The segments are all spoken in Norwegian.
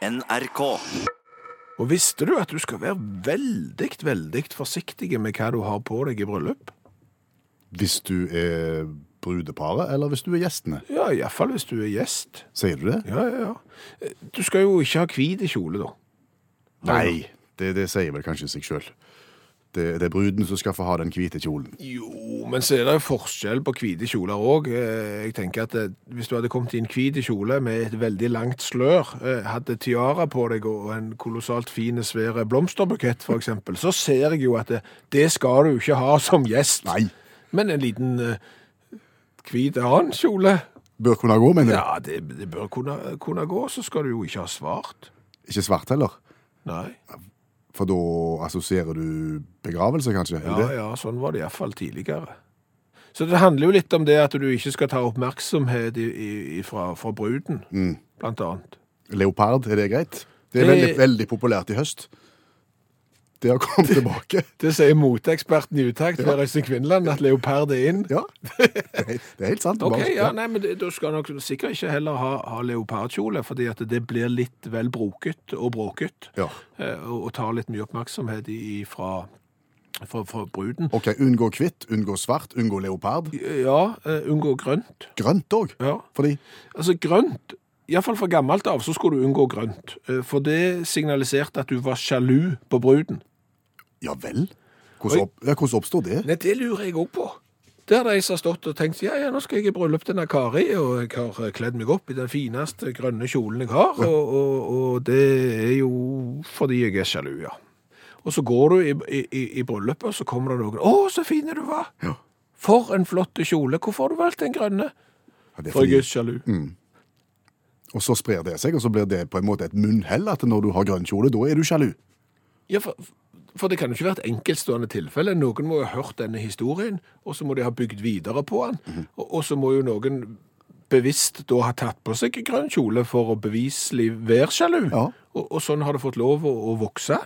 NRK. Og visste du at du skal være veldig, veldig forsiktig med hva du har på deg i bryllup? Hvis du er brudeparet, eller hvis du er gjestene? Ja, iallfall hvis du er gjest. Sier du det? Ja, ja, ja. Du skal jo ikke ha hvit kjole, da. Nei, det, det sier vel kanskje seg sjøl. Det, det er bruden som skal få ha den hvite kjolen. Jo, men så er det jo forskjell på hvite kjoler òg. Jeg tenker at eh, hvis du hadde kommet i en hvit kjole med et veldig langt slør, eh, hadde tiara på deg og en kolossalt fin, svær blomsterbukett f.eks., så ser jeg jo at det, det skal du ikke ha som gjest. Nei. Men en liten eh, hvit annen kjole Bør kunne gå, mener du? Ja, det, det bør kunne, kunne gå, så skal du jo ikke ha svart. Ikke svart heller? Nei. For da assosierer du begravelse, kanskje? Ja, Er det? ja, sånn var det iallfall tidligere. Så det handler jo litt om det at du ikke skal ta oppmerksomhet i, i, i fra, fra bruden, Mm. blant annet. Leopard, er det greit? Det er Det- veldig, veldig populært i høst. Det har kommet tilbake. Det sier moteeksperten i utakt ved Øystein Kvinneland, at leopard er inn. Ja, det er helt- det er helt sant. Ok, Bare- ja, nei, men det, Du skal nok sikkert ikke heller ha, ha leopardkjole, fordi at det blir litt vel broket og bråket. Ja. eh, Og, og tar litt mye oppmerksomhet i, i fra, fra, fra bruden. Ok, unngå hvitt, unngå svart, unngå leopard. Ja, eh, unngå grønt. Grønt òg. Ja. Fordi Altså grønt, iallfall fra gammelt av, så skulle du unngå grønt. Eh, For det signaliserte at du var sjalu på bruden. Ja vel? Hvordan, Oi. opp, ja, hvordan oppstod det? Nei, det lurer jeg òg på. Der de som har stått og tenkt ja, ja, nå skal jeg i bryllup til denne Kari, og jeg har eh, kledd meg opp i den fineste grønne kjolen jeg har, og, og, og det er jo fordi jeg er sjalu, ja. Og så går du i, i, i- i bryllupet, og så kommer det noen 'Å, så fin du var!' Ja. For en flott kjole. Hvorfor har du valgt den grønne? Ja, det er For jeg fordi, er sjalu. og så sprer det seg, og så blir det på en måte et munnhell at når du har grønn kjole, da er du sjalu. Ja, for, for det kan jo ikke være et enkeltstående tilfelle. Noen må jo ha hørt denne historien, og så må de ha bygd videre på den. og, og så må jo noen bevisst da ha tatt på seg grønn kjole for å beviselig være sjalu. Ja. Og, og sånn har det fått lov å, å vokse.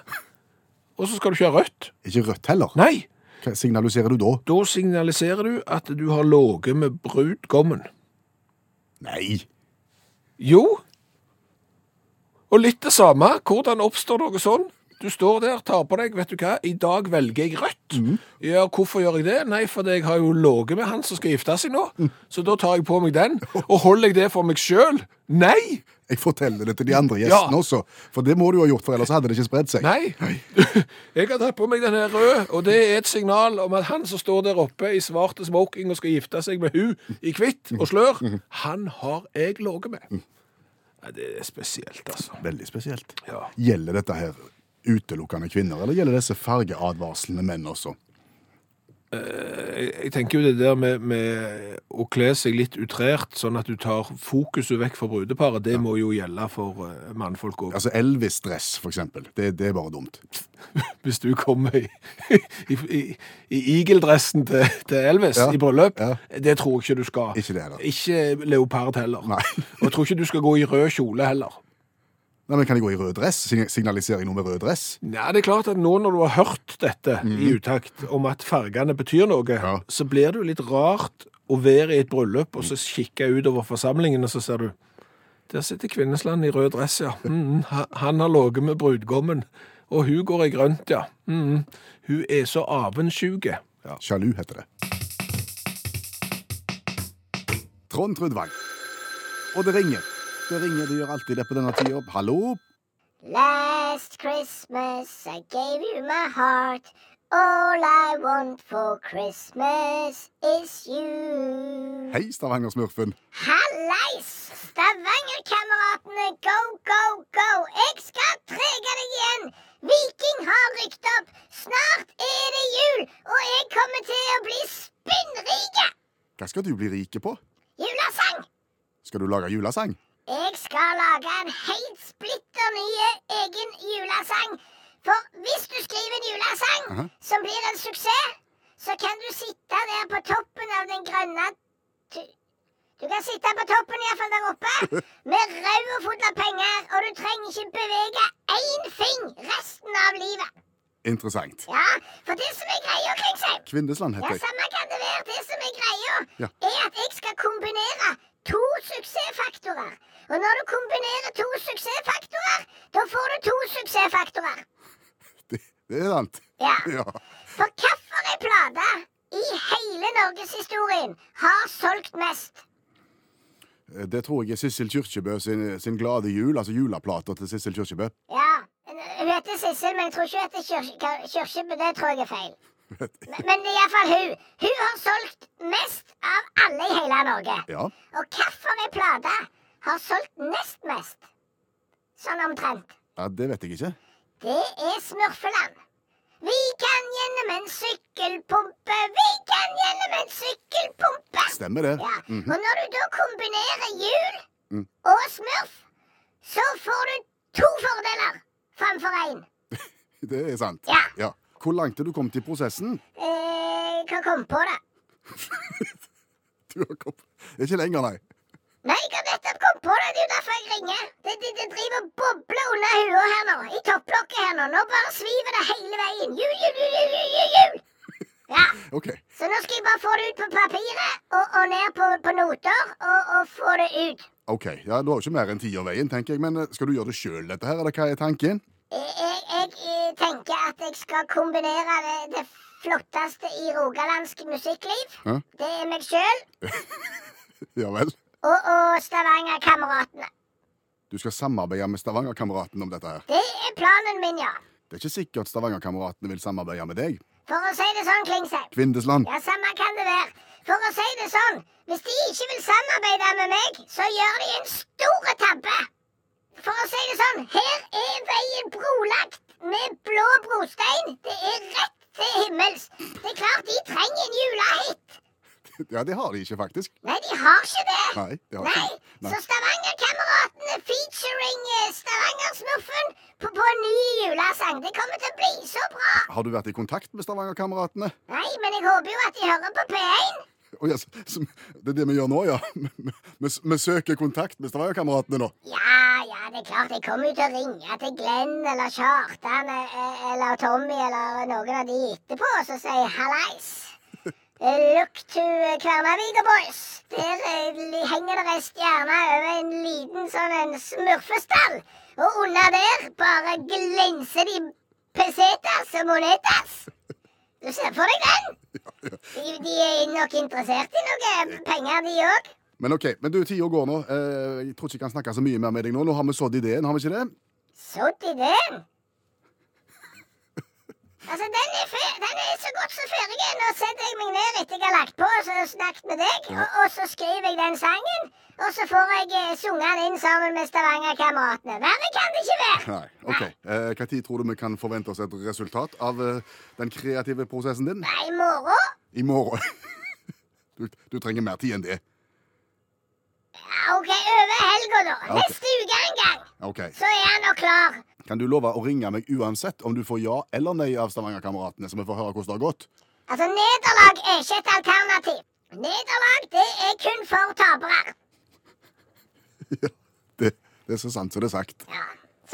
Og så skal du ikke ha rødt. Ikke rødt heller. Nei, Hva signaliserer du da? da signaliserer du at du har ligget med brudgommen. Nei. Jo. Og litt det samme. Hvordan oppstår noe sånn? Du står der, tar på deg, vet du hva, i dag velger jeg rødt. Ja, hvorfor gjør jeg det? Nei, fordi jeg har jo ligget med han som skal gifte seg nå. Så da tar jeg på meg den, og holder jeg det for meg sjøl? Nei! Jeg forteller det til de andre gjestene Ja. også, for det må du ha gjort, for ellers hadde det ikke spredt seg. Nei. Jeg har tatt på meg den her røde, og det er et signal om at han som står der oppe i svarte smoking og skal gifte seg med hun i hvitt og slør, han har jeg ligget med. Nei, det er spesielt, altså. Veldig spesielt. Ja. Gjelder dette her utelukkende kvinner, eller gjelder disse fargeadvarslene menn også? jeg, jeg tenker jo det der med, med å kle seg litt utrert, sånn at du tar fokuset vekk fra brudeparet, det må jo gjelde for eh, mannfolk òg. Altså Elvis-dress, for eksempel. Det, det er bare dumt. Hvis du kommer i, i, i, i Eagle-dressen til, til Elvis Ja, i bryllup, ja. det tror jeg ikke du skal. Ikke det heller. Ikke leopard heller. Nei. Og jeg tror ikke du skal gå i rød kjole heller. Nei, men Kan jeg gå i rød dress? Sign- Signaliserer jeg noe med rød dress? Nei, det er klart at nå når du har hørt dette i utakt, om at fargene betyr noe, Ja. så blir det jo litt rart å være i et bryllup, og så kikke utover forsamlingen, og så ser du Der sitter Kvinnesland i rød dress, ja. Mm, ha- han har ligget med brudgommen. Og hun går i grønt, ja. Mm, hun er så avundsjuke. Sjalu heter det. Trond Trudvang. Og det ringer. Det ringer, det gjør alltid det på denne tida. Hallo? Last Christmas I gave you my heart. All I want for Christmas is you. Hei, Stavanger-smurfen. Hallais! Stavangerkameratene, go, go, go! Jeg skal trege deg igjen! Viking har rykt opp. Snart er det jul, og jeg kommer til å bli spinnrike! Hva skal du bli rike på? Julesang! Skal du lage julesang? Jeg skal lage en helt splitter nye egen julesang. For hvis du skriver en julesang Aha. som blir en suksess, så kan du sitte der på toppen av den grønne tu- Du kan sitte på toppen iallfall der oppe med røde fot av penger, og du trenger ikke bevege én fing resten av livet. Interessant. Ja, For det som er greia kring seg Kvindesland ja, heter jeg. samme kan det være. Det som er greia, Ja. er at jeg skal kombinere to suksessfaktorer. Og når du kombinerer to suksessfaktorer, penger. Da får du to suksessfaktorer. Det, det er sant. Ja. Ja. For hvilken plate i hele norgeshistorien har solgt mest? Det tror jeg er Sissel Kyrkjebø sin, sin Glade jul, altså juleplata til Sissel Kyrkjebø. Ja, hun heter Sissel, men jeg tror ikke hun heter Kyr- Kyr- Kyrkjebø. Det tror jeg er feil. Men men det er iallfall hun. Hun har solgt mest av alle i hele Norge. Ja. Og hvilken plate har solgt nest mest? Sånn omtrent. ja, det vet jeg ikke. Det er Smurfeland. Vi kan gjennom en sykkelpumpe, vi kan gjennom en sykkelpumpe. Stemmer det. Ja. Mhm. Og når du da kombinerer jul Mm. og smurf, så får du to fordeler framfor én. Det er sant. Ja. Ja. Hvor langt er du kommet i prosessen? Eh, kan komme på det. Du har kommet. Ikke lenger, nei. Nei, jeg har nettopp kommet på det. Det er jo derfor jeg ringer. Det, det, det driver og bobler under huet her nå. I topplokket her nå. Nå bare sviver det hele veien. Jul, jul, jul, jul, jul, jul, jul. Ja. OK. Så nå skal jeg bare få det ut på papiret og, og ned på, på noter og, og få det ut. ok. Ja, Du har jo ikke mer enn tierveien, tenker jeg. Men eh, skal du gjøre det sjøl, dette her, eller hva er tanken? Jeg, jeg, jeg eh, tenker at jeg skal kombinere det, det flotteste i rogalandsk musikkliv. Hæ? Det er meg sjøl Ja vel. og, og Stavanger-kameratene. Du skal samarbeide med Stavangerkameraten om dette her. Det er planen min, ja. Det er ikke sikkert Stavangerkameratene vil samarbeide med deg. For å si det sånn, Klingsheim. Kvindesland. Ja, samme kan det være. For å si det sånn, hvis de ikke vil samarbeide med meg, så gjør de en stor tabbe. For å si det sånn, her er veien brolagt med blå brostein. Det er rett til himmels. Det er klart de trenger en julehit. Ja, det har de ikke, faktisk. Nei, de har ikke det. Nei, det har de Nei. ikke. Så Stavanger-kameratene featuring eh, Stavanger-smurfen på, på en ny julesang. Det kommer til å bli så bra. Har du vært i kontakt med Stavangerkameratene? Nei, men jeg håper jo at de hører på P1. Oh, yes. som- Det er det vi gjør nå, ja. Vi- vi- Vi søker kontakt med Stavangerkameratene nå. Ja, ja, det er klart. Jeg kommer jo til å ringe til Glenn eller Kjartan eh, eller Tommy eller noen av de etterpå og så si hallais. Eh, Look to eh, Kværnaviga Boys. Der eh, li- henger det ei stjerne over en liten sånn en smurfestall. Og under der bare glinser de pesetas og monetas. Du ser for deg den? De, de er nok interessert i noe eh, penger, de òg. Men OK. Men du, tida går nå. Eh, Jeg tror ikke jeg kan snakke så mye mer med deg nå. Nå har vi sådd ideen, har vi ikke det? Sådd i den? Altså, den er, fe- den er så godt som ferdig. Nå setter jeg meg ned etter jeg har lagt på og så snakket med deg, og, og så skriver jeg den sangen. Og så får jeg eh, sunget den inn sammen med Stavanger-kameratene. Verre kan det ikke være. Nei. OK. Eh, Hva tid tror du vi kan forvente oss et resultat av eh, den kreative prosessen din? Nei, i morgen? I morgen. Du, du trenger mer tid enn det. Ja, OK, over helga, da. Ja, ok. Neste uke en gang, OK. så er han nok klar. Kan du love å ringe meg uansett om du får ja eller nei av Stavangerkameratene, så vi får høre hvordan det har gått? Altså, nederlag er ikke et alternativ. Nederlag, det er kun for tapere. Det, det er så sant som det er sagt. Ja.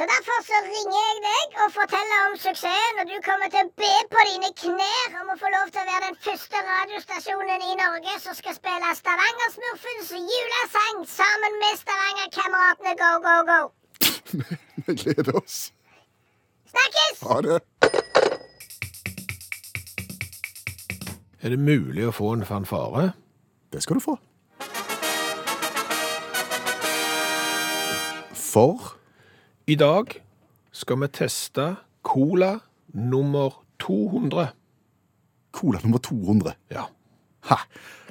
Så derfor så ringer jeg deg og forteller om suksessen, og du kommer til å be på dine knær om å få lov til å være den første radiostasjonen i Norge som skal spille Stavangersmurfens julesang sammen med Stavanger-kameratene Go Go Go. Vi gleder oss. Snakkes! Ha det. Er det mulig å få en fanfare? Det skal du få. For I dag skal vi teste cola nummer 200. cola nummer 200. Ja. Ha!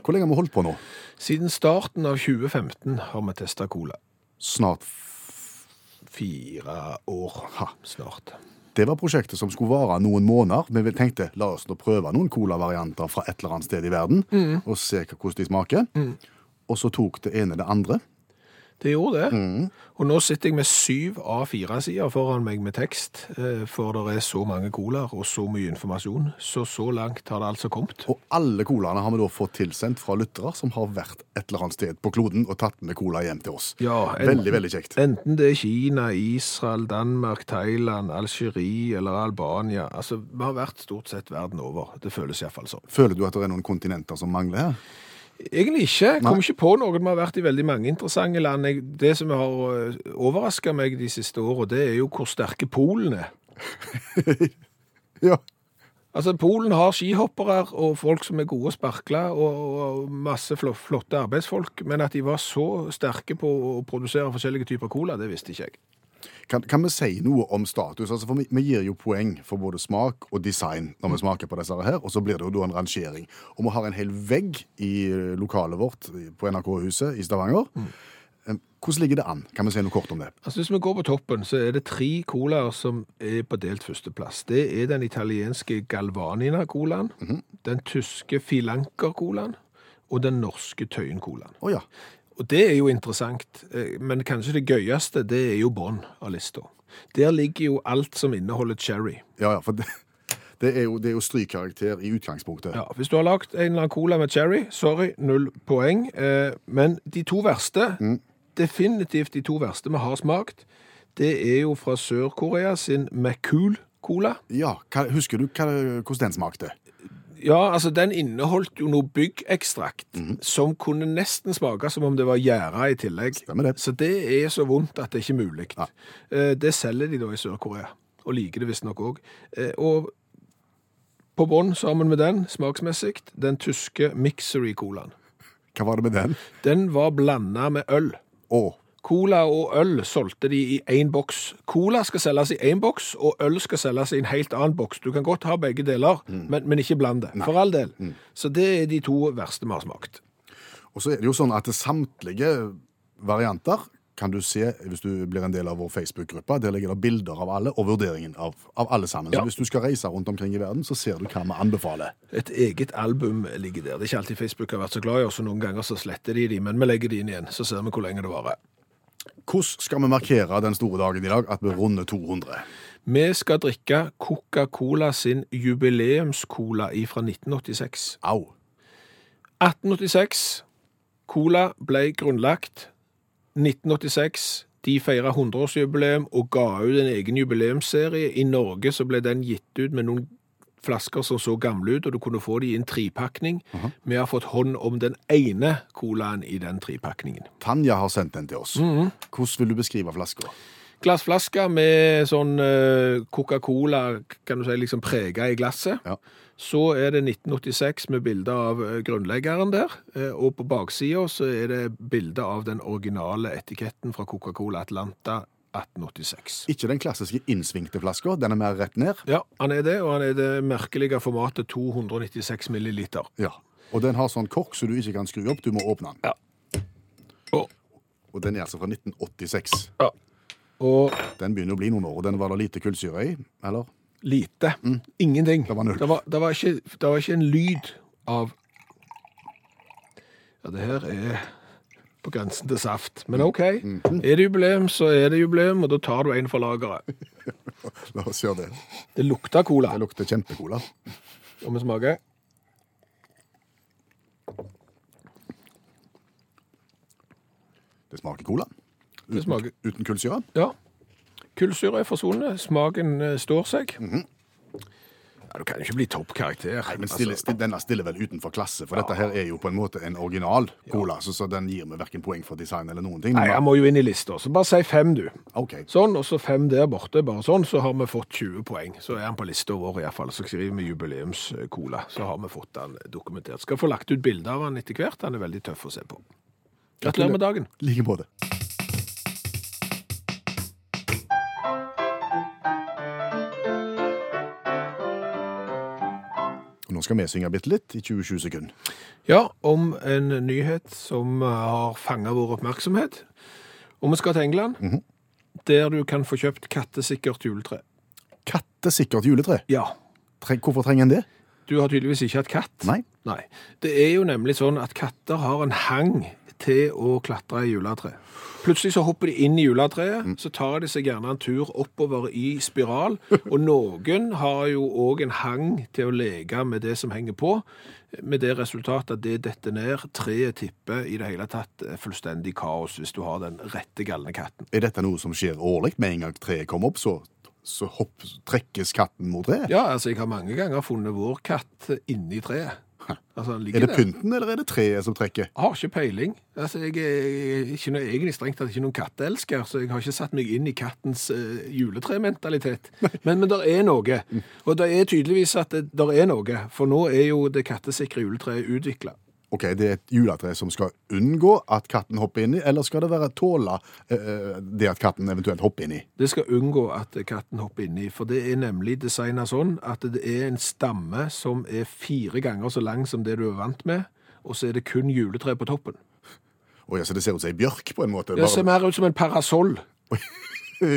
Hvor lenge har vi holdt på nå? Siden starten av 2015 har vi testa cola. Snart. Fire år ha, snart. Det var prosjektet som skulle vare noen måneder, men vi tenkte la oss nå prøve noen colavarianter fra et eller annet sted i verden, og se hva- hvordan de smaker. Og så tok det ene det andre. Det gjorde det. Mm. Og nå sitter jeg med syv A4-sider foran meg med tekst, eh, for det er så mange colaer og så mye informasjon. Så så langt har det altså kommet. Og alle colaene har vi da fått tilsendt fra lyttere som har vært et eller annet sted på kloden og tatt med cola hjem til oss. Ja, en- Veldig, veldig kjekt. Enten det er Kina, Israel, Danmark, Thailand, Algerie eller Albania. Altså, vi har vært stort sett verden over. Det føles iallfall sånn. Føler du at det er noen kontinenter som mangler her? Egentlig ikke. Jeg kom Nei. ikke på noen. Vi har vært i veldig mange interessante land. Jeg, det som har overraska meg de siste åra, det er jo hvor sterke Polen er. Ja. Altså, Polen har skihoppere og folk som er gode å sparkle, og, og masse flo- flotte arbeidsfolk, men at de var så sterke på å produsere forskjellige typer cola, det visste ikke jeg. Kan, kan vi si noe om status? Altså, for vi, vi gir jo poeng for både smak og design når vi smaker på disse her, og så blir det jo da en rangering. Og vi har en hel vegg i eh, lokalet vårt i- på NRK-huset i Stavanger. Eh, Hvordan ligger det an? Kan vi si noe kort om det? Altså, Hvis vi går på toppen, så er det tre colaer som er på delt førsteplass. Det er den italienske Galvanina-colaen, den tyske Filanker-colaen og den norske Tøyen-colaen. Å ja. Og det er jo interessant, eh, men kanskje det gøyeste, det er jo bånn av lista. Der ligger jo alt som inneholder cherry. Ja, ja, for det, det, er jo, det er jo strykkarakter i utgangspunktet. Ja, Hvis du har lagd en eller annen cola med cherry, sorry, null poeng. Eh, men de to verste, Mm. definitivt de to verste vi har smakt, det er jo fra Sør-Korea sin McCool-cola. Ja, hva, Husker du hva, hvordan den smakte? Ja, altså den inneholdt jo noe byggekstrakt Mhm. som kunne nesten smake som om det var gjæra i tillegg. Stemmer det. Så det er så vondt at det ikke er mulig. Eh, Det selger de da i Sør-Korea, og liker det visstnok òg. Eh, Og på bånn, sammen med den, smaksmessig, den tyske Mixery-colaen. Hva var det med den? Den var blanda med øl. Å, Cola og øl solgte de i én boks. Cola skal selges i én boks, og øl skal selges i en helt annen boks. Du kan godt ha begge deler, men, men ikke bland det. For all del. Så det er de to verste vi har smakt. og så er det jo sånn at samtlige varianter kan du se hvis du blir en del av vår Facebook-gruppe. Der ligger det bilder av alle og vurderingen av, av alle sammen. Ja. Så hvis du skal reise rundt omkring i verden, så ser du hva vi anbefaler. Et eget album ligger der. Det er ikke alltid Facebook har vært så glad i oss, og noen ganger så sletter de de, men vi legger de inn igjen, så ser vi hvor lenge det varer. Hvordan skal vi markere den store dagen i dag at vi runder 200? Vi skal drikke Coca-Cola sin jubileumscola ifra 1986. Au. 1886. Cola ble grunnlagt. 1986. De feira 100-årsjubileum og ga ut en egen jubileumsserie. I Norge så ble den gitt ut med noen flasker som så gamle ut, og du kunne få de i en trepakning. Vi har fått hånd om den ene colaen i den trepakningen. Tanja har sendt den til oss. Mm. Hvordan vil du beskrive flaska? Glassflasker med sånn eh, Coca-Cola, kan du si, liksom prega i glasset. Ja. Så er det 1986 med bilde av eh, grunnleggeren der, eh, og på baksida så er det bilde av den originale etiketten fra Coca-Cola Atlanta 1886. Ikke den klassiske innsvingte flaska, den er mer rett ned. Ja, han er det, og han er det merkelige formatet 296 milliliter. Ja. Og den har sånn kork så du ikke kan skru opp, du må åpne den. Ja. Og, Og den er altså fra 1986. ja. og Den begynner å bli noen år, og den var det lite kullsyre i, eller? lite. Ingenting. Mm. Det var null. Det var, det var, ikke, det var ikke en lyd av Ja, det her er på grensen til saft. Men OK. Mm. Er det jubileum, så er det jubileum, og da tar du en for lageret. La oss gjøre det. Det lukter cola. Det lukter kjempecola. Og vi smaker. Det smaker cola. Det smaker Uten kullsyre. Ja. Kullsyre er forsvunnet. Smaken eh, står seg. ja, du kan jo ikke bli toppkarakter. Mhm. Altså, Nei, men stille, sti- denne stiller vel utenfor klasse, for dette her er jo på en måte en original cola, så, så den gir meg hverken poeng for design eller noen ting. Nei, han må jo inn i lista. Så bare si fem, du. Ok, Sånn, og så fem der borte, bare sånn, så har vi fått 20 poeng. Så er han på lista vår i hvert fall, så skriver vi jubileumscola. Så har vi fått han dokumentert. Skal få lagt ut bilder av han etter hvert, han er veldig tøff å se på. Gratulerer med dagen. like på det. Og nå skal vi synge bitte litt i 20-20 sekunder. Ja, om en nyhet som har fanget vår oppmerksomhet. Og vi skal til England, der du kan få kjøpt kattesikkert juletre. Kattesikkert juletre. Ja, Tre, hvorfor trenger en det? du har tydeligvis ikke hatt katt. Nei. Nei. Det er jo nemlig sånn at katter har en hang til å klatre i juletre. Plutselig så hopper de inn i juletreet, Mm. så tar de seg gjerne en tur oppover i spiral, og noen har jo òg en hang til å leke med det som henger på, med det resultatet at det detter ned, treet tipper, i det hele tatt eh, fullstendig kaos hvis du har den rette galne katten. Er dette noe som skjer årlig? Med en gang treet kommer opp, så, så hopp, trekkes katten mot treet? Ja, altså jeg har mange ganger funnet vår katt inni treet. Altså, den ligger Er det der. pynten, eller er det treet som trekker? Jeg har ikke peiling. Altså, jeg er ikke noe, egentlig strengt tatt ikke noen katteelsker, så jeg har ikke satt meg inn i kattens eh, juletrementalitet. Men, men der er noe. Og det er tydeligvis at det der er noe, for nå er jo det kattesikre juletreet utvikla. Ok, Det er et juletre som skal unngå at katten hopper inn i, eller skal det være tåle eh, det at katten eventuelt hopper inn i? Det skal unngå at katten hopper inni, for det er nemlig designa sånn at det er en stamme som er fire ganger så lang som det du er vant med, og så er det kun juletre på toppen. Å ja, så det ser ut som ei bjørk, på en måte? Det ser Bare, mer ut som en parasoll.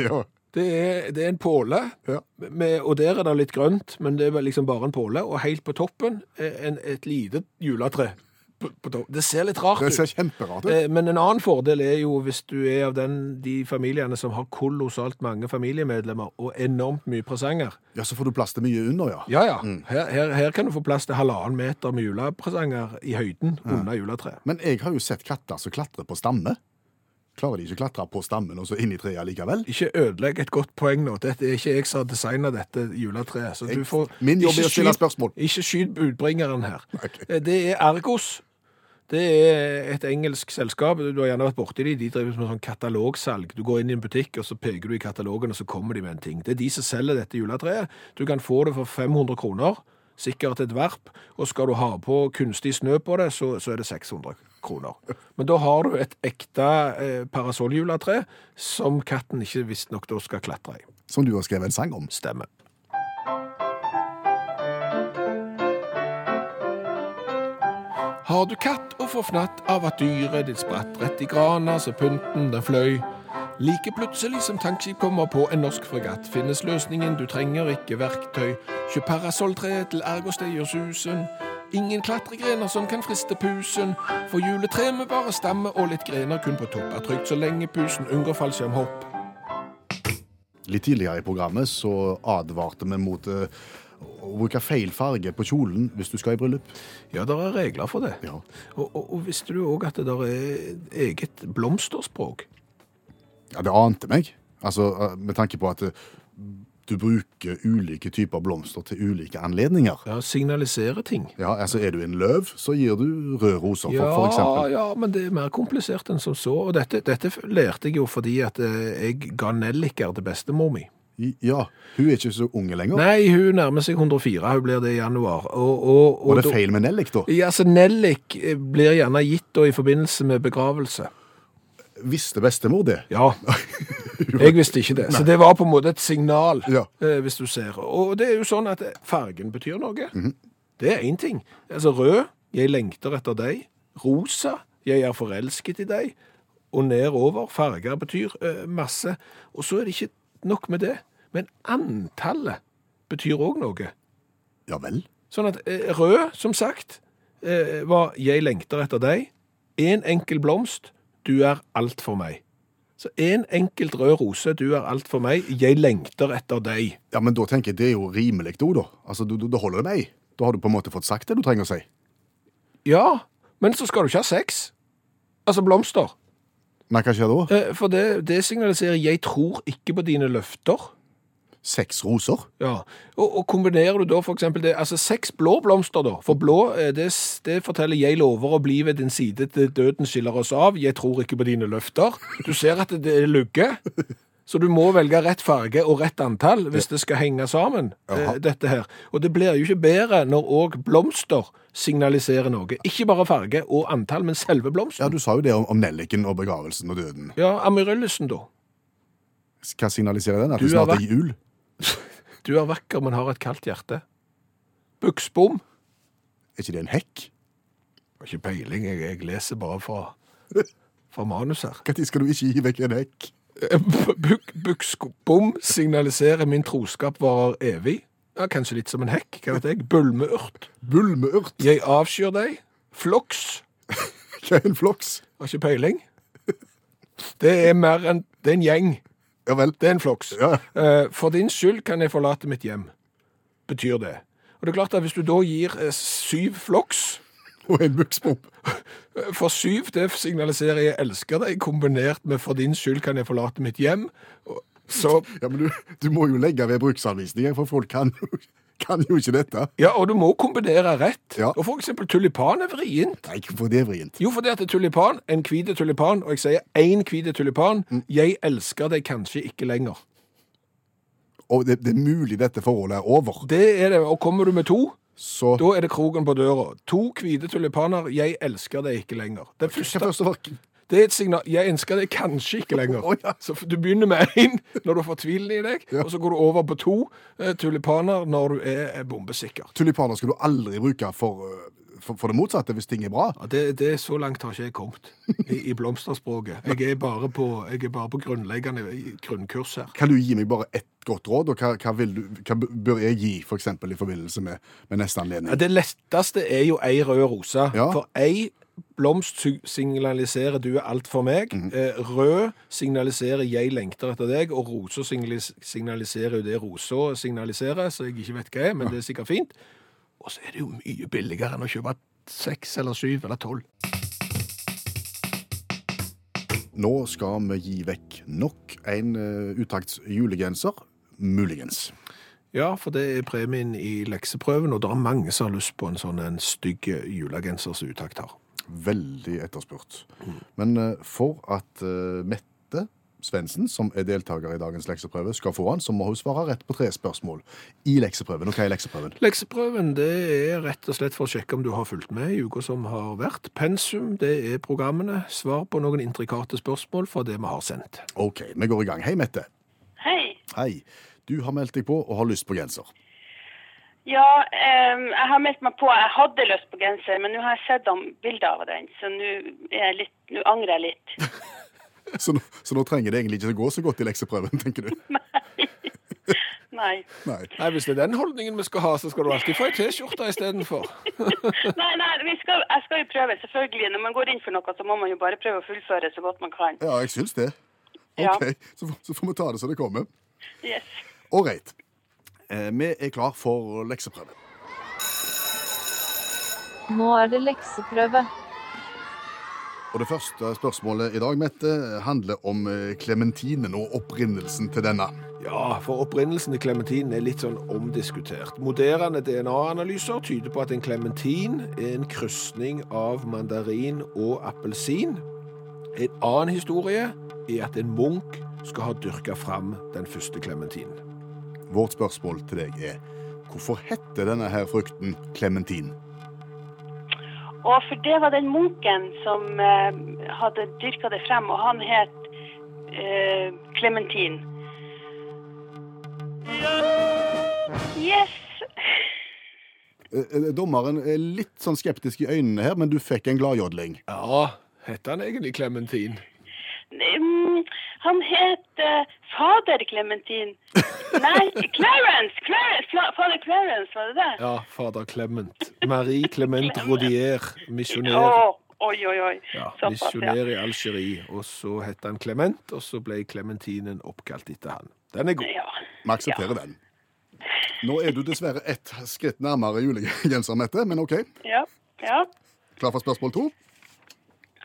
ja. Det er, det er en påle, Ja. med, og der er det litt grønt, men det er vel liksom bare en påle. Og helt på toppen er en, et lite juletre. På, på topp. det ser litt rart Det ut. ser kjemperart ut. Eh, Men en annen fordel er jo hvis du er av den, de familiene som har kolossalt mange familiemedlemmer og enormt mye presanger. Ja, Så får du plass til mye under, ja. Ja, ja. Her, her, her kan du få plass til halvannen meter med julepresanger i høyden under juletreet. Men jeg har jo sett katter som klatrer på stamme. Klarer de ikke å klatre på stammen og så inn i treet likevel? Ikke ødelegg et godt poeng nå. Dette er ikke jeg som har designa dette juletreet. Så du Jeg- får min jobb ikke er å stille skyt- spørsmål. Ikke skyt budbringeren her. Ok. Eh, Det er Ergos. Det er et engelsk selskap. Du har gjerne vært borti de. De driver med sånn katalogsalg. Du går inn i en butikk, og så peker du i katalogen, og så kommer de med en ting. Det er de som selger dette juletreet. Du kan få det for 500 kroner, sikkert et varp, og skal du ha på kunstig snø på det, så, så er det 600 kroner. Men da har du et ekte eh, parasolljuletre som katten ikke visstnok da skal klatre i. Som du har skrevet en sang om. Stemmer. Har du katt og får fnatt av at dyret ditt spratt rett i grana så pynten den fløy? Like plutselig som tankskip kommer på en norsk fregatt, finnes løsningen, du trenger ikke verktøy. Kjøp parasolltre til Ergos det gjør susen. Ingen klatregrener som kan friste pusen, for juletre med bare stamme og litt grener kun på topp er trygt så lenge pusen unngår fallskjermhopp. Litt tidligere i programmet så advarte vi mot eh, å bruke feil farge på kjolen hvis du skal i bryllup. Ja, det er regler for det. Ja. Og, og, og visste du òg at det der er eget blomsterspråk? Ja, det ante meg. Altså, eh, Med tanke på at eh, du bruker ulike typer blomster til ulike anledninger. Ja, signalisere ting. Ja, altså Er du en løv, så gir du røde roser, for, for eksempel. ja, men det er mer komplisert enn som så. Og dette, dette lærte jeg jo fordi at eh, jeg ga nelliker til bestemor mi. I- Ja, Hun er ikke så unge lenger. Nei, hun nærmer seg 104. Hun blir det i januar. Og, og, og Var det da- feil med nellik, da? Ja, altså Nellik eh, blir gjerne gitt da i forbindelse med begravelse. Visste bestemor det? Ja. Jeg visste ikke det. Så det var på en måte et signal, Ja. eh, hvis du ser. Og det er jo sånn at fargen betyr noe. Det er én ting. Altså rød, jeg lengter etter deg. Rosa, jeg er forelsket i deg. Og nedover, farger betyr eh, masse. Og så er det ikke nok med det. Men antallet betyr òg noe. Ja vel? Sånn at eh, rød, som sagt, eh, var 'jeg lengter etter deg'. En enkel blomst, 'du er alt for meg'. Så en enkelt rød rose, 'du er alt for meg', 'jeg lengter etter deg'. Ja, men Da tenker jeg det er jo rimelig òg, da. Altså, du, du, Da holder det med ei. Da har du på en måte fått sagt det du trenger å si. Ja, men så skal du ikke ha sex. Altså blomster. Nei, hva skjer da? Eh, for det, det signaliserer 'jeg tror ikke på dine løfter'. Seks roser? Ja, og, og kombinerer du da for eksempel det, altså seks blå blomster da, for blå, eh, det, s- det forteller jeg lover å bli ved din side til døden skiller oss av, jeg tror ikke på dine løfter. Du ser at det er lugge, så du må velge rett farge og rett antall hvis det skal henge sammen, eh, Jaha. dette her. Og det blir jo ikke bedre når også blomster signaliserer noe. Ikke bare farge og antall, men selve Ja, blomster. du sa jo det om, om nelliken og begravelsen og døden. Ja, Amaryllysen da. Hva signaliserer den? At Du det snart har er jul? Du er vakker, men har et kaldt hjerte. Buksbom. Er ikke det en hekk? Jeg har ikke peiling, jeg, jeg leser bare fra, fra manus her. Når skal du ikke gi vekk en hekk? Eh, Buk- Buksbom signaliserer min troskap varer evig. Ja, kanskje litt som en hekk, hva vet jeg. Bulmeurt. Bulmeurt? Jeg avskyr deg. Floks. Hva er en floks? Har ikke peiling. Det er mer enn Det er en gjeng. Ja vel. Det er en floks. Ja. Eh, For din skyld kan jeg forlate mitt hjem. Betyr det. Og det er klart at hvis du da gir eh, syv floks Og en bukspomp. For syv, det signaliserer jeg elsker deg, kombinert med for din skyld kan jeg forlate mitt hjem. Og Så Ja, men du, du må jo legge ved bruksanvisninger, for folk kan jo kan jo ikke dette. Ja, og du må kombinere rett. Ja. Og for eksempel tulipan er vrient. Nei, for det er vrient. Jo, fordi at tulipan, en hvite tulipan, og jeg sier én hvite tulipan, jeg elsker deg kanskje ikke lenger. Og det, det er mulig dette forholdet er over. Det er det, og kommer du med to, Så da er det kroken på døra. To hvite tulipaner, jeg elsker deg ikke lenger. Det Hva første, første var det er et signal, jeg elsker deg kanskje ikke lenger. Å, ja. Så du begynner med én når du har fått tvilen i deg, og så går du over på to eh, tulipaner når du er er bombesikker. Tulipaner skal du aldri bruke for, eh, for, for det motsatte hvis ting er bra. Ja, det, det er Så langt har ikke jeg kommet i, i blomsterspråket. Jeg er bare på, jeg er bare på grunnleggende i- grunnkurs her. Kan du gi meg bare ett godt råd, og hva, hva, vil du, hva b- bør jeg gi for eksempel, i forbindelse med, med Ja, neste anledning? det letteste er jo ei rød rose. Ja. For ei blomst sy- signaliserer du er alt for meg. Eh, Rød signaliserer jeg lengter etter deg, og rosa signalis- signaliserer jo det rosa signaliserer, så jeg ikke vet hva er, men det er sikkert fint. Og så er det jo mye billigere enn å kjøpe seks eller syv eller tolv. Nå skal vi gi vekk nok en uh, utakts julegenser, muligens. Ja, for det er premien i lekseprøven, og det er mange som har lyst på en sånn en stygg julegenser som utakt har. Veldig etterspurt. Men eh, for at eh, Mette Svensen, som er deltaker i dagens lekseprøve, skal få han, så må hun svare rett på tre spørsmål i lekseprøven. Og hva er lekseprøven? Lekseprøven det er rett og slett for å sjekke om du har fulgt med i uka som har vært. Pensum det er programmene. Svar på noen intrikate spørsmål fra det vi har sendt. OK, vi går i gang. Hei, Mette. Hei. Hei. Du har meldt deg på og har lyst på genser. Ja, em, jeg har meldt meg på. Jeg hadde lyst på genser, men nå har jeg sett om bilder av den, så nå er jeg litt- nå angrer jeg litt. Så nå, så nå trenger det egentlig ikke å gå så godt i lekseprøven, tenker du. Nei. Nei. Nei, Hvis det er den holdningen vi skal ha, så skal du alltid få ei T-skjorte istedenfor. Nei, nei, vi skal, jeg skal jo prøve, selvfølgelig. Når man går inn for noe, så må man jo bare prøve å fullføre så godt man kan. Ja, jeg syns det. Ja. OK, så, får- så får vi ta det som det kommer. Yes. Ålreit. Eh, vi er klar for lekseprøve. Nå er det lekseprøve. Og det første spørsmålet i dag, Mette, handler om eh, klementinen og opprinnelsen til denne. Ja, for opprinnelsen til klementinen er litt sånn omdiskutert. Moderne DNA-analyser tyder på at en klementin er en krysning av mandarin og appelsin. En annen historie er at en munk skal ha dyrka fram den første klementinen. Vårt spørsmål til deg er hvorfor heter denne her frukten klementin? Og for det var den munken som em, hadde dyrka det frem, og han het eh, Klementin. yes! Eh, eh, Dommeren er litt sånn skeptisk i øynene her, men du fikk en gladjodling. Ja, heter han egentlig Clementin? Mm, han het eh, Fader Clementin. Nei, Clarence! Clarence! Fla- Fader Clarence, var det det? Ja, fader Clement. Marie Clement Rodier, misjonær. Å, oi, oi, oi. Ja, Såpass, ja. misjonær i Algerie. Og så het han Clement, og så ble Clementinen oppkalt etter han. Den er god. ja. Vi aksepterer den. Nå er du dessverre ett skritt nærmere julegenser, Mette, men OK. Ja. ja. Klar for spørsmål to?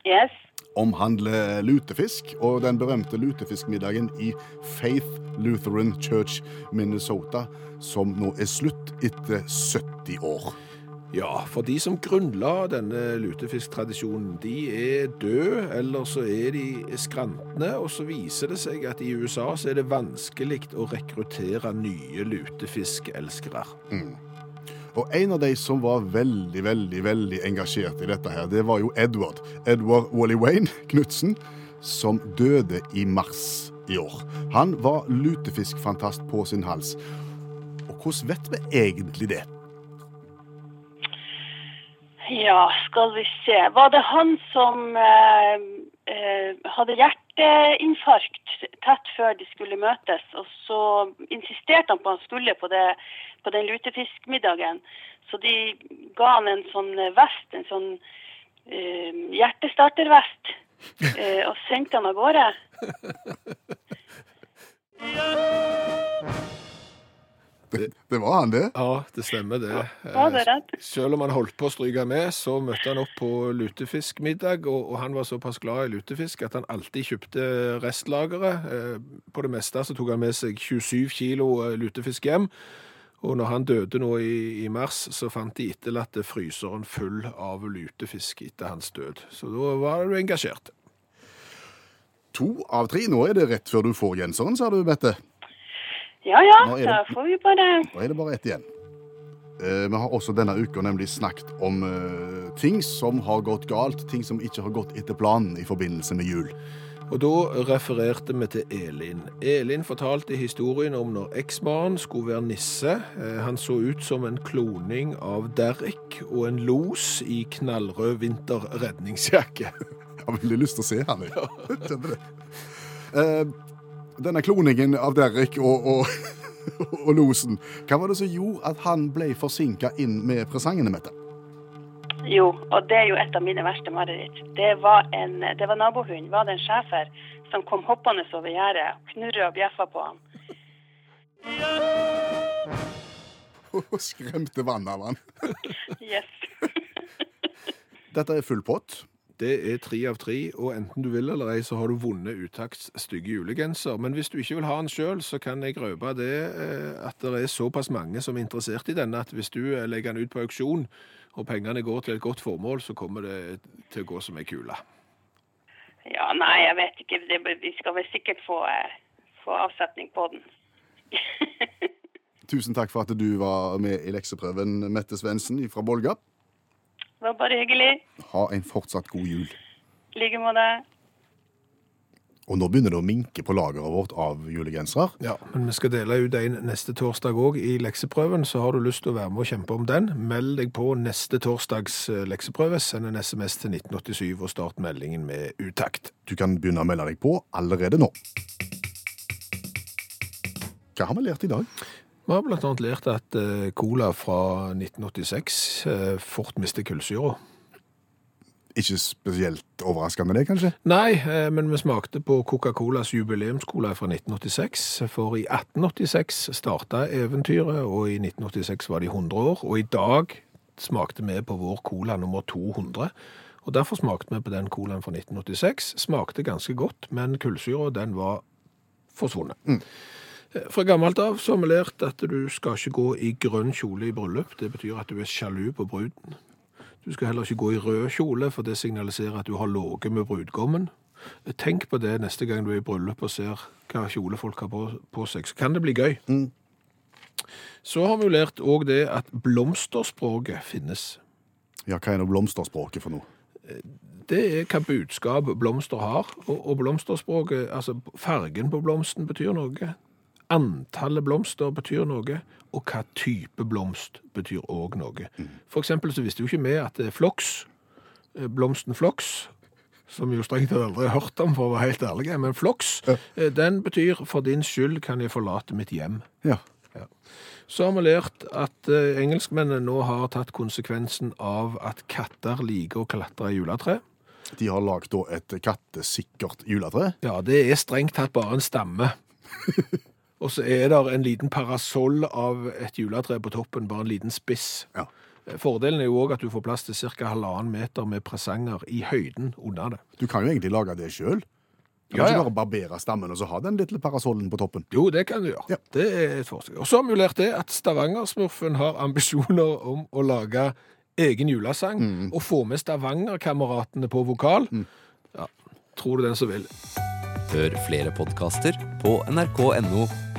Yes. omhandler lutefisk og den berømte lutefiskmiddagen i Faith Lutheran Church Minnesota, som nå er slutt etter 70 år. Ja, for de som grunnla denne lutefisktradisjonen, de er døde, eller så er de skrantne, og så viser det seg at i USA så er det vanskelig å rekruttere nye lutefiskelskere. Og en av de som var veldig, veldig, veldig engasjert i dette her, det var jo Edward. Edward Wally Wayne Knutsen, som døde i mars i år. Han var lutefiskfantast på sin hals. Og hvordan vet vi egentlig det? Ja, skal vi se. Var det han som eh, eh, hadde hjerteinfarkt tett før de skulle møtes, og så insisterte han på at han skulle på, det, på den lutefiskmiddagen. Så de ga han en sånn vest, en sånn eh, hjertestartervest, eh, og sendte han av gårde. Det, det var han, det. Ja, det stemmer det. Eh, Var det rett? Selv om han holdt på å stryke med, så møtte han opp på lutefiskmiddag, og, og han var såpass glad i lutefisk at han alltid kjøpte restlageret. Eh, På det meste så tok han med seg 27 kilo eh, lutefisk hjem, Og når han døde nå i, i mars, så fant de etterlatte fryseren full av lutefisk etter hans død. Så da var du engasjert. To av tre. Nå er det rett før du får genseren, sa du, Bette. Ja ja, Nå er det- da får vi bare Da er det bare ett igjen. Eh, Vi har også denne uka nemlig snakket om eh, ting som har gått galt, ting som ikke har gått etter planen i forbindelse med jul. Og da refererte vi til Elin. Elin fortalte historien om når eksmannen skulle være nisse. Eh, Han så ut som en kloning av Derrick og en los i knallrød vinterredningsjakke. Jeg har veldig lyst til å se han, jeg. Skjønner det. Eh, Denne kloningen av Derek og, og, og losen, hva var det som gjorde at han ble forsinka inn med presangene, Mette? Jo, og det er jo et av mine verste mareritt. Det var, en, det var nabohunden, var det en schæfer, som kom hoppende over gjerdet, knurret og bjeffa på ham. Og skremte vannet av han. Yes. Dette er full pott. Det er tre av tre, og enten du vil eller ei, så har du vunnet Utakts stygge julegenser. Men hvis du ikke vil ha den sjøl, så kan jeg røpe det eh, at det er såpass mange som er interessert i denne, at hvis du eh, legger den ut på auksjon, og pengene går til et godt formål, så kommer det til å gå som ei kule. Ja, nei, jeg vet ikke. Det, vi skal vel sikkert få, eh, få avsetning på den. Tusen takk for at du var med i lekseprøven, Mette Svendsen fra Bolga. Det var bare hyggelig. Ha en fortsatt god jul. I like måte. Og nå begynner det å minke på lageret vårt av julegensere. Ja, men vi skal dele ut en neste torsdag òg i lekseprøven, så har du lyst til å være med og kjempe om den, meld deg på neste torsdags eh, lekseprøve. Send en SMS til 1987 og start meldingen med utakt. Du kan begynne å melde deg på allerede nå. Hva har vi lært i dag? Vi har blant annet lært at eh, cola fra 1986 eh, fort mister kullsyra. Ikke spesielt overraskende det, kanskje? Nei, eh, men vi smakte på Coca-Colas jubileumscola fra 1986, for i 1886 starta eventyret, og i 1986 var de 100 år, og i dag smakte vi på vår cola nummer 200, og derfor smakte vi på den colaen fra 1986. Smakte ganske godt, men kullsyra, den var forsvunnet. Eh, Fra gammelt av så har vi lært at du skal ikke gå i grønn kjole i bryllup. Det betyr at du er sjalu på bruden. Du skal heller ikke gå i rød kjole, for det signaliserer at du har ligget med brudgommen. Tenk på det neste gang du er i bryllup og ser hva kjole folk har på, på seg, så kan det bli gøy. Så har vi jo lært òg det at blomsterspråket finnes. Ja, hva er nå blomsterspråket for noe? Det er hva budskap blomster har, og, og blomsterspråket, altså fargen på blomsten betyr noe. Antallet blomster betyr noe, og hva type blomst betyr òg noe. For eksempel så visste jo ikke vi at det er floks, eh, blomsten floks, som jo strengt tatt aldri har hørt om, for å være helt ærlig, men floks, eh, den betyr 'for din skyld kan jeg forlate mitt hjem'. Ja. Så har vi lært at eh, engelskmennene nå har tatt konsekvensen av at katter liker å klatre i juletre. De har lagd da et kattesikkert juletre. Ja, det er strengt tatt bare en stamme. Og så er det en liten parasoll av et juletre på toppen, bare en liten spiss. Ja. Fordelen er jo òg at du får plass til ca. halvannen meter med presanger i høyden under det. Du kan jo egentlig lage det sjøl. Du kan Ja, ja. ikke bare barbere stammen og så ha den lille parasollen på toppen. Jo, det kan du gjøre. Ja. Det er et forsøk. Og så har vi jo lært det at Stavangersmurfen har ambisjoner om å lage egen julesang og få med Stavangerkameratene på vokal. Ja, tror du den som vil. Hør flere podkaster på nrk.no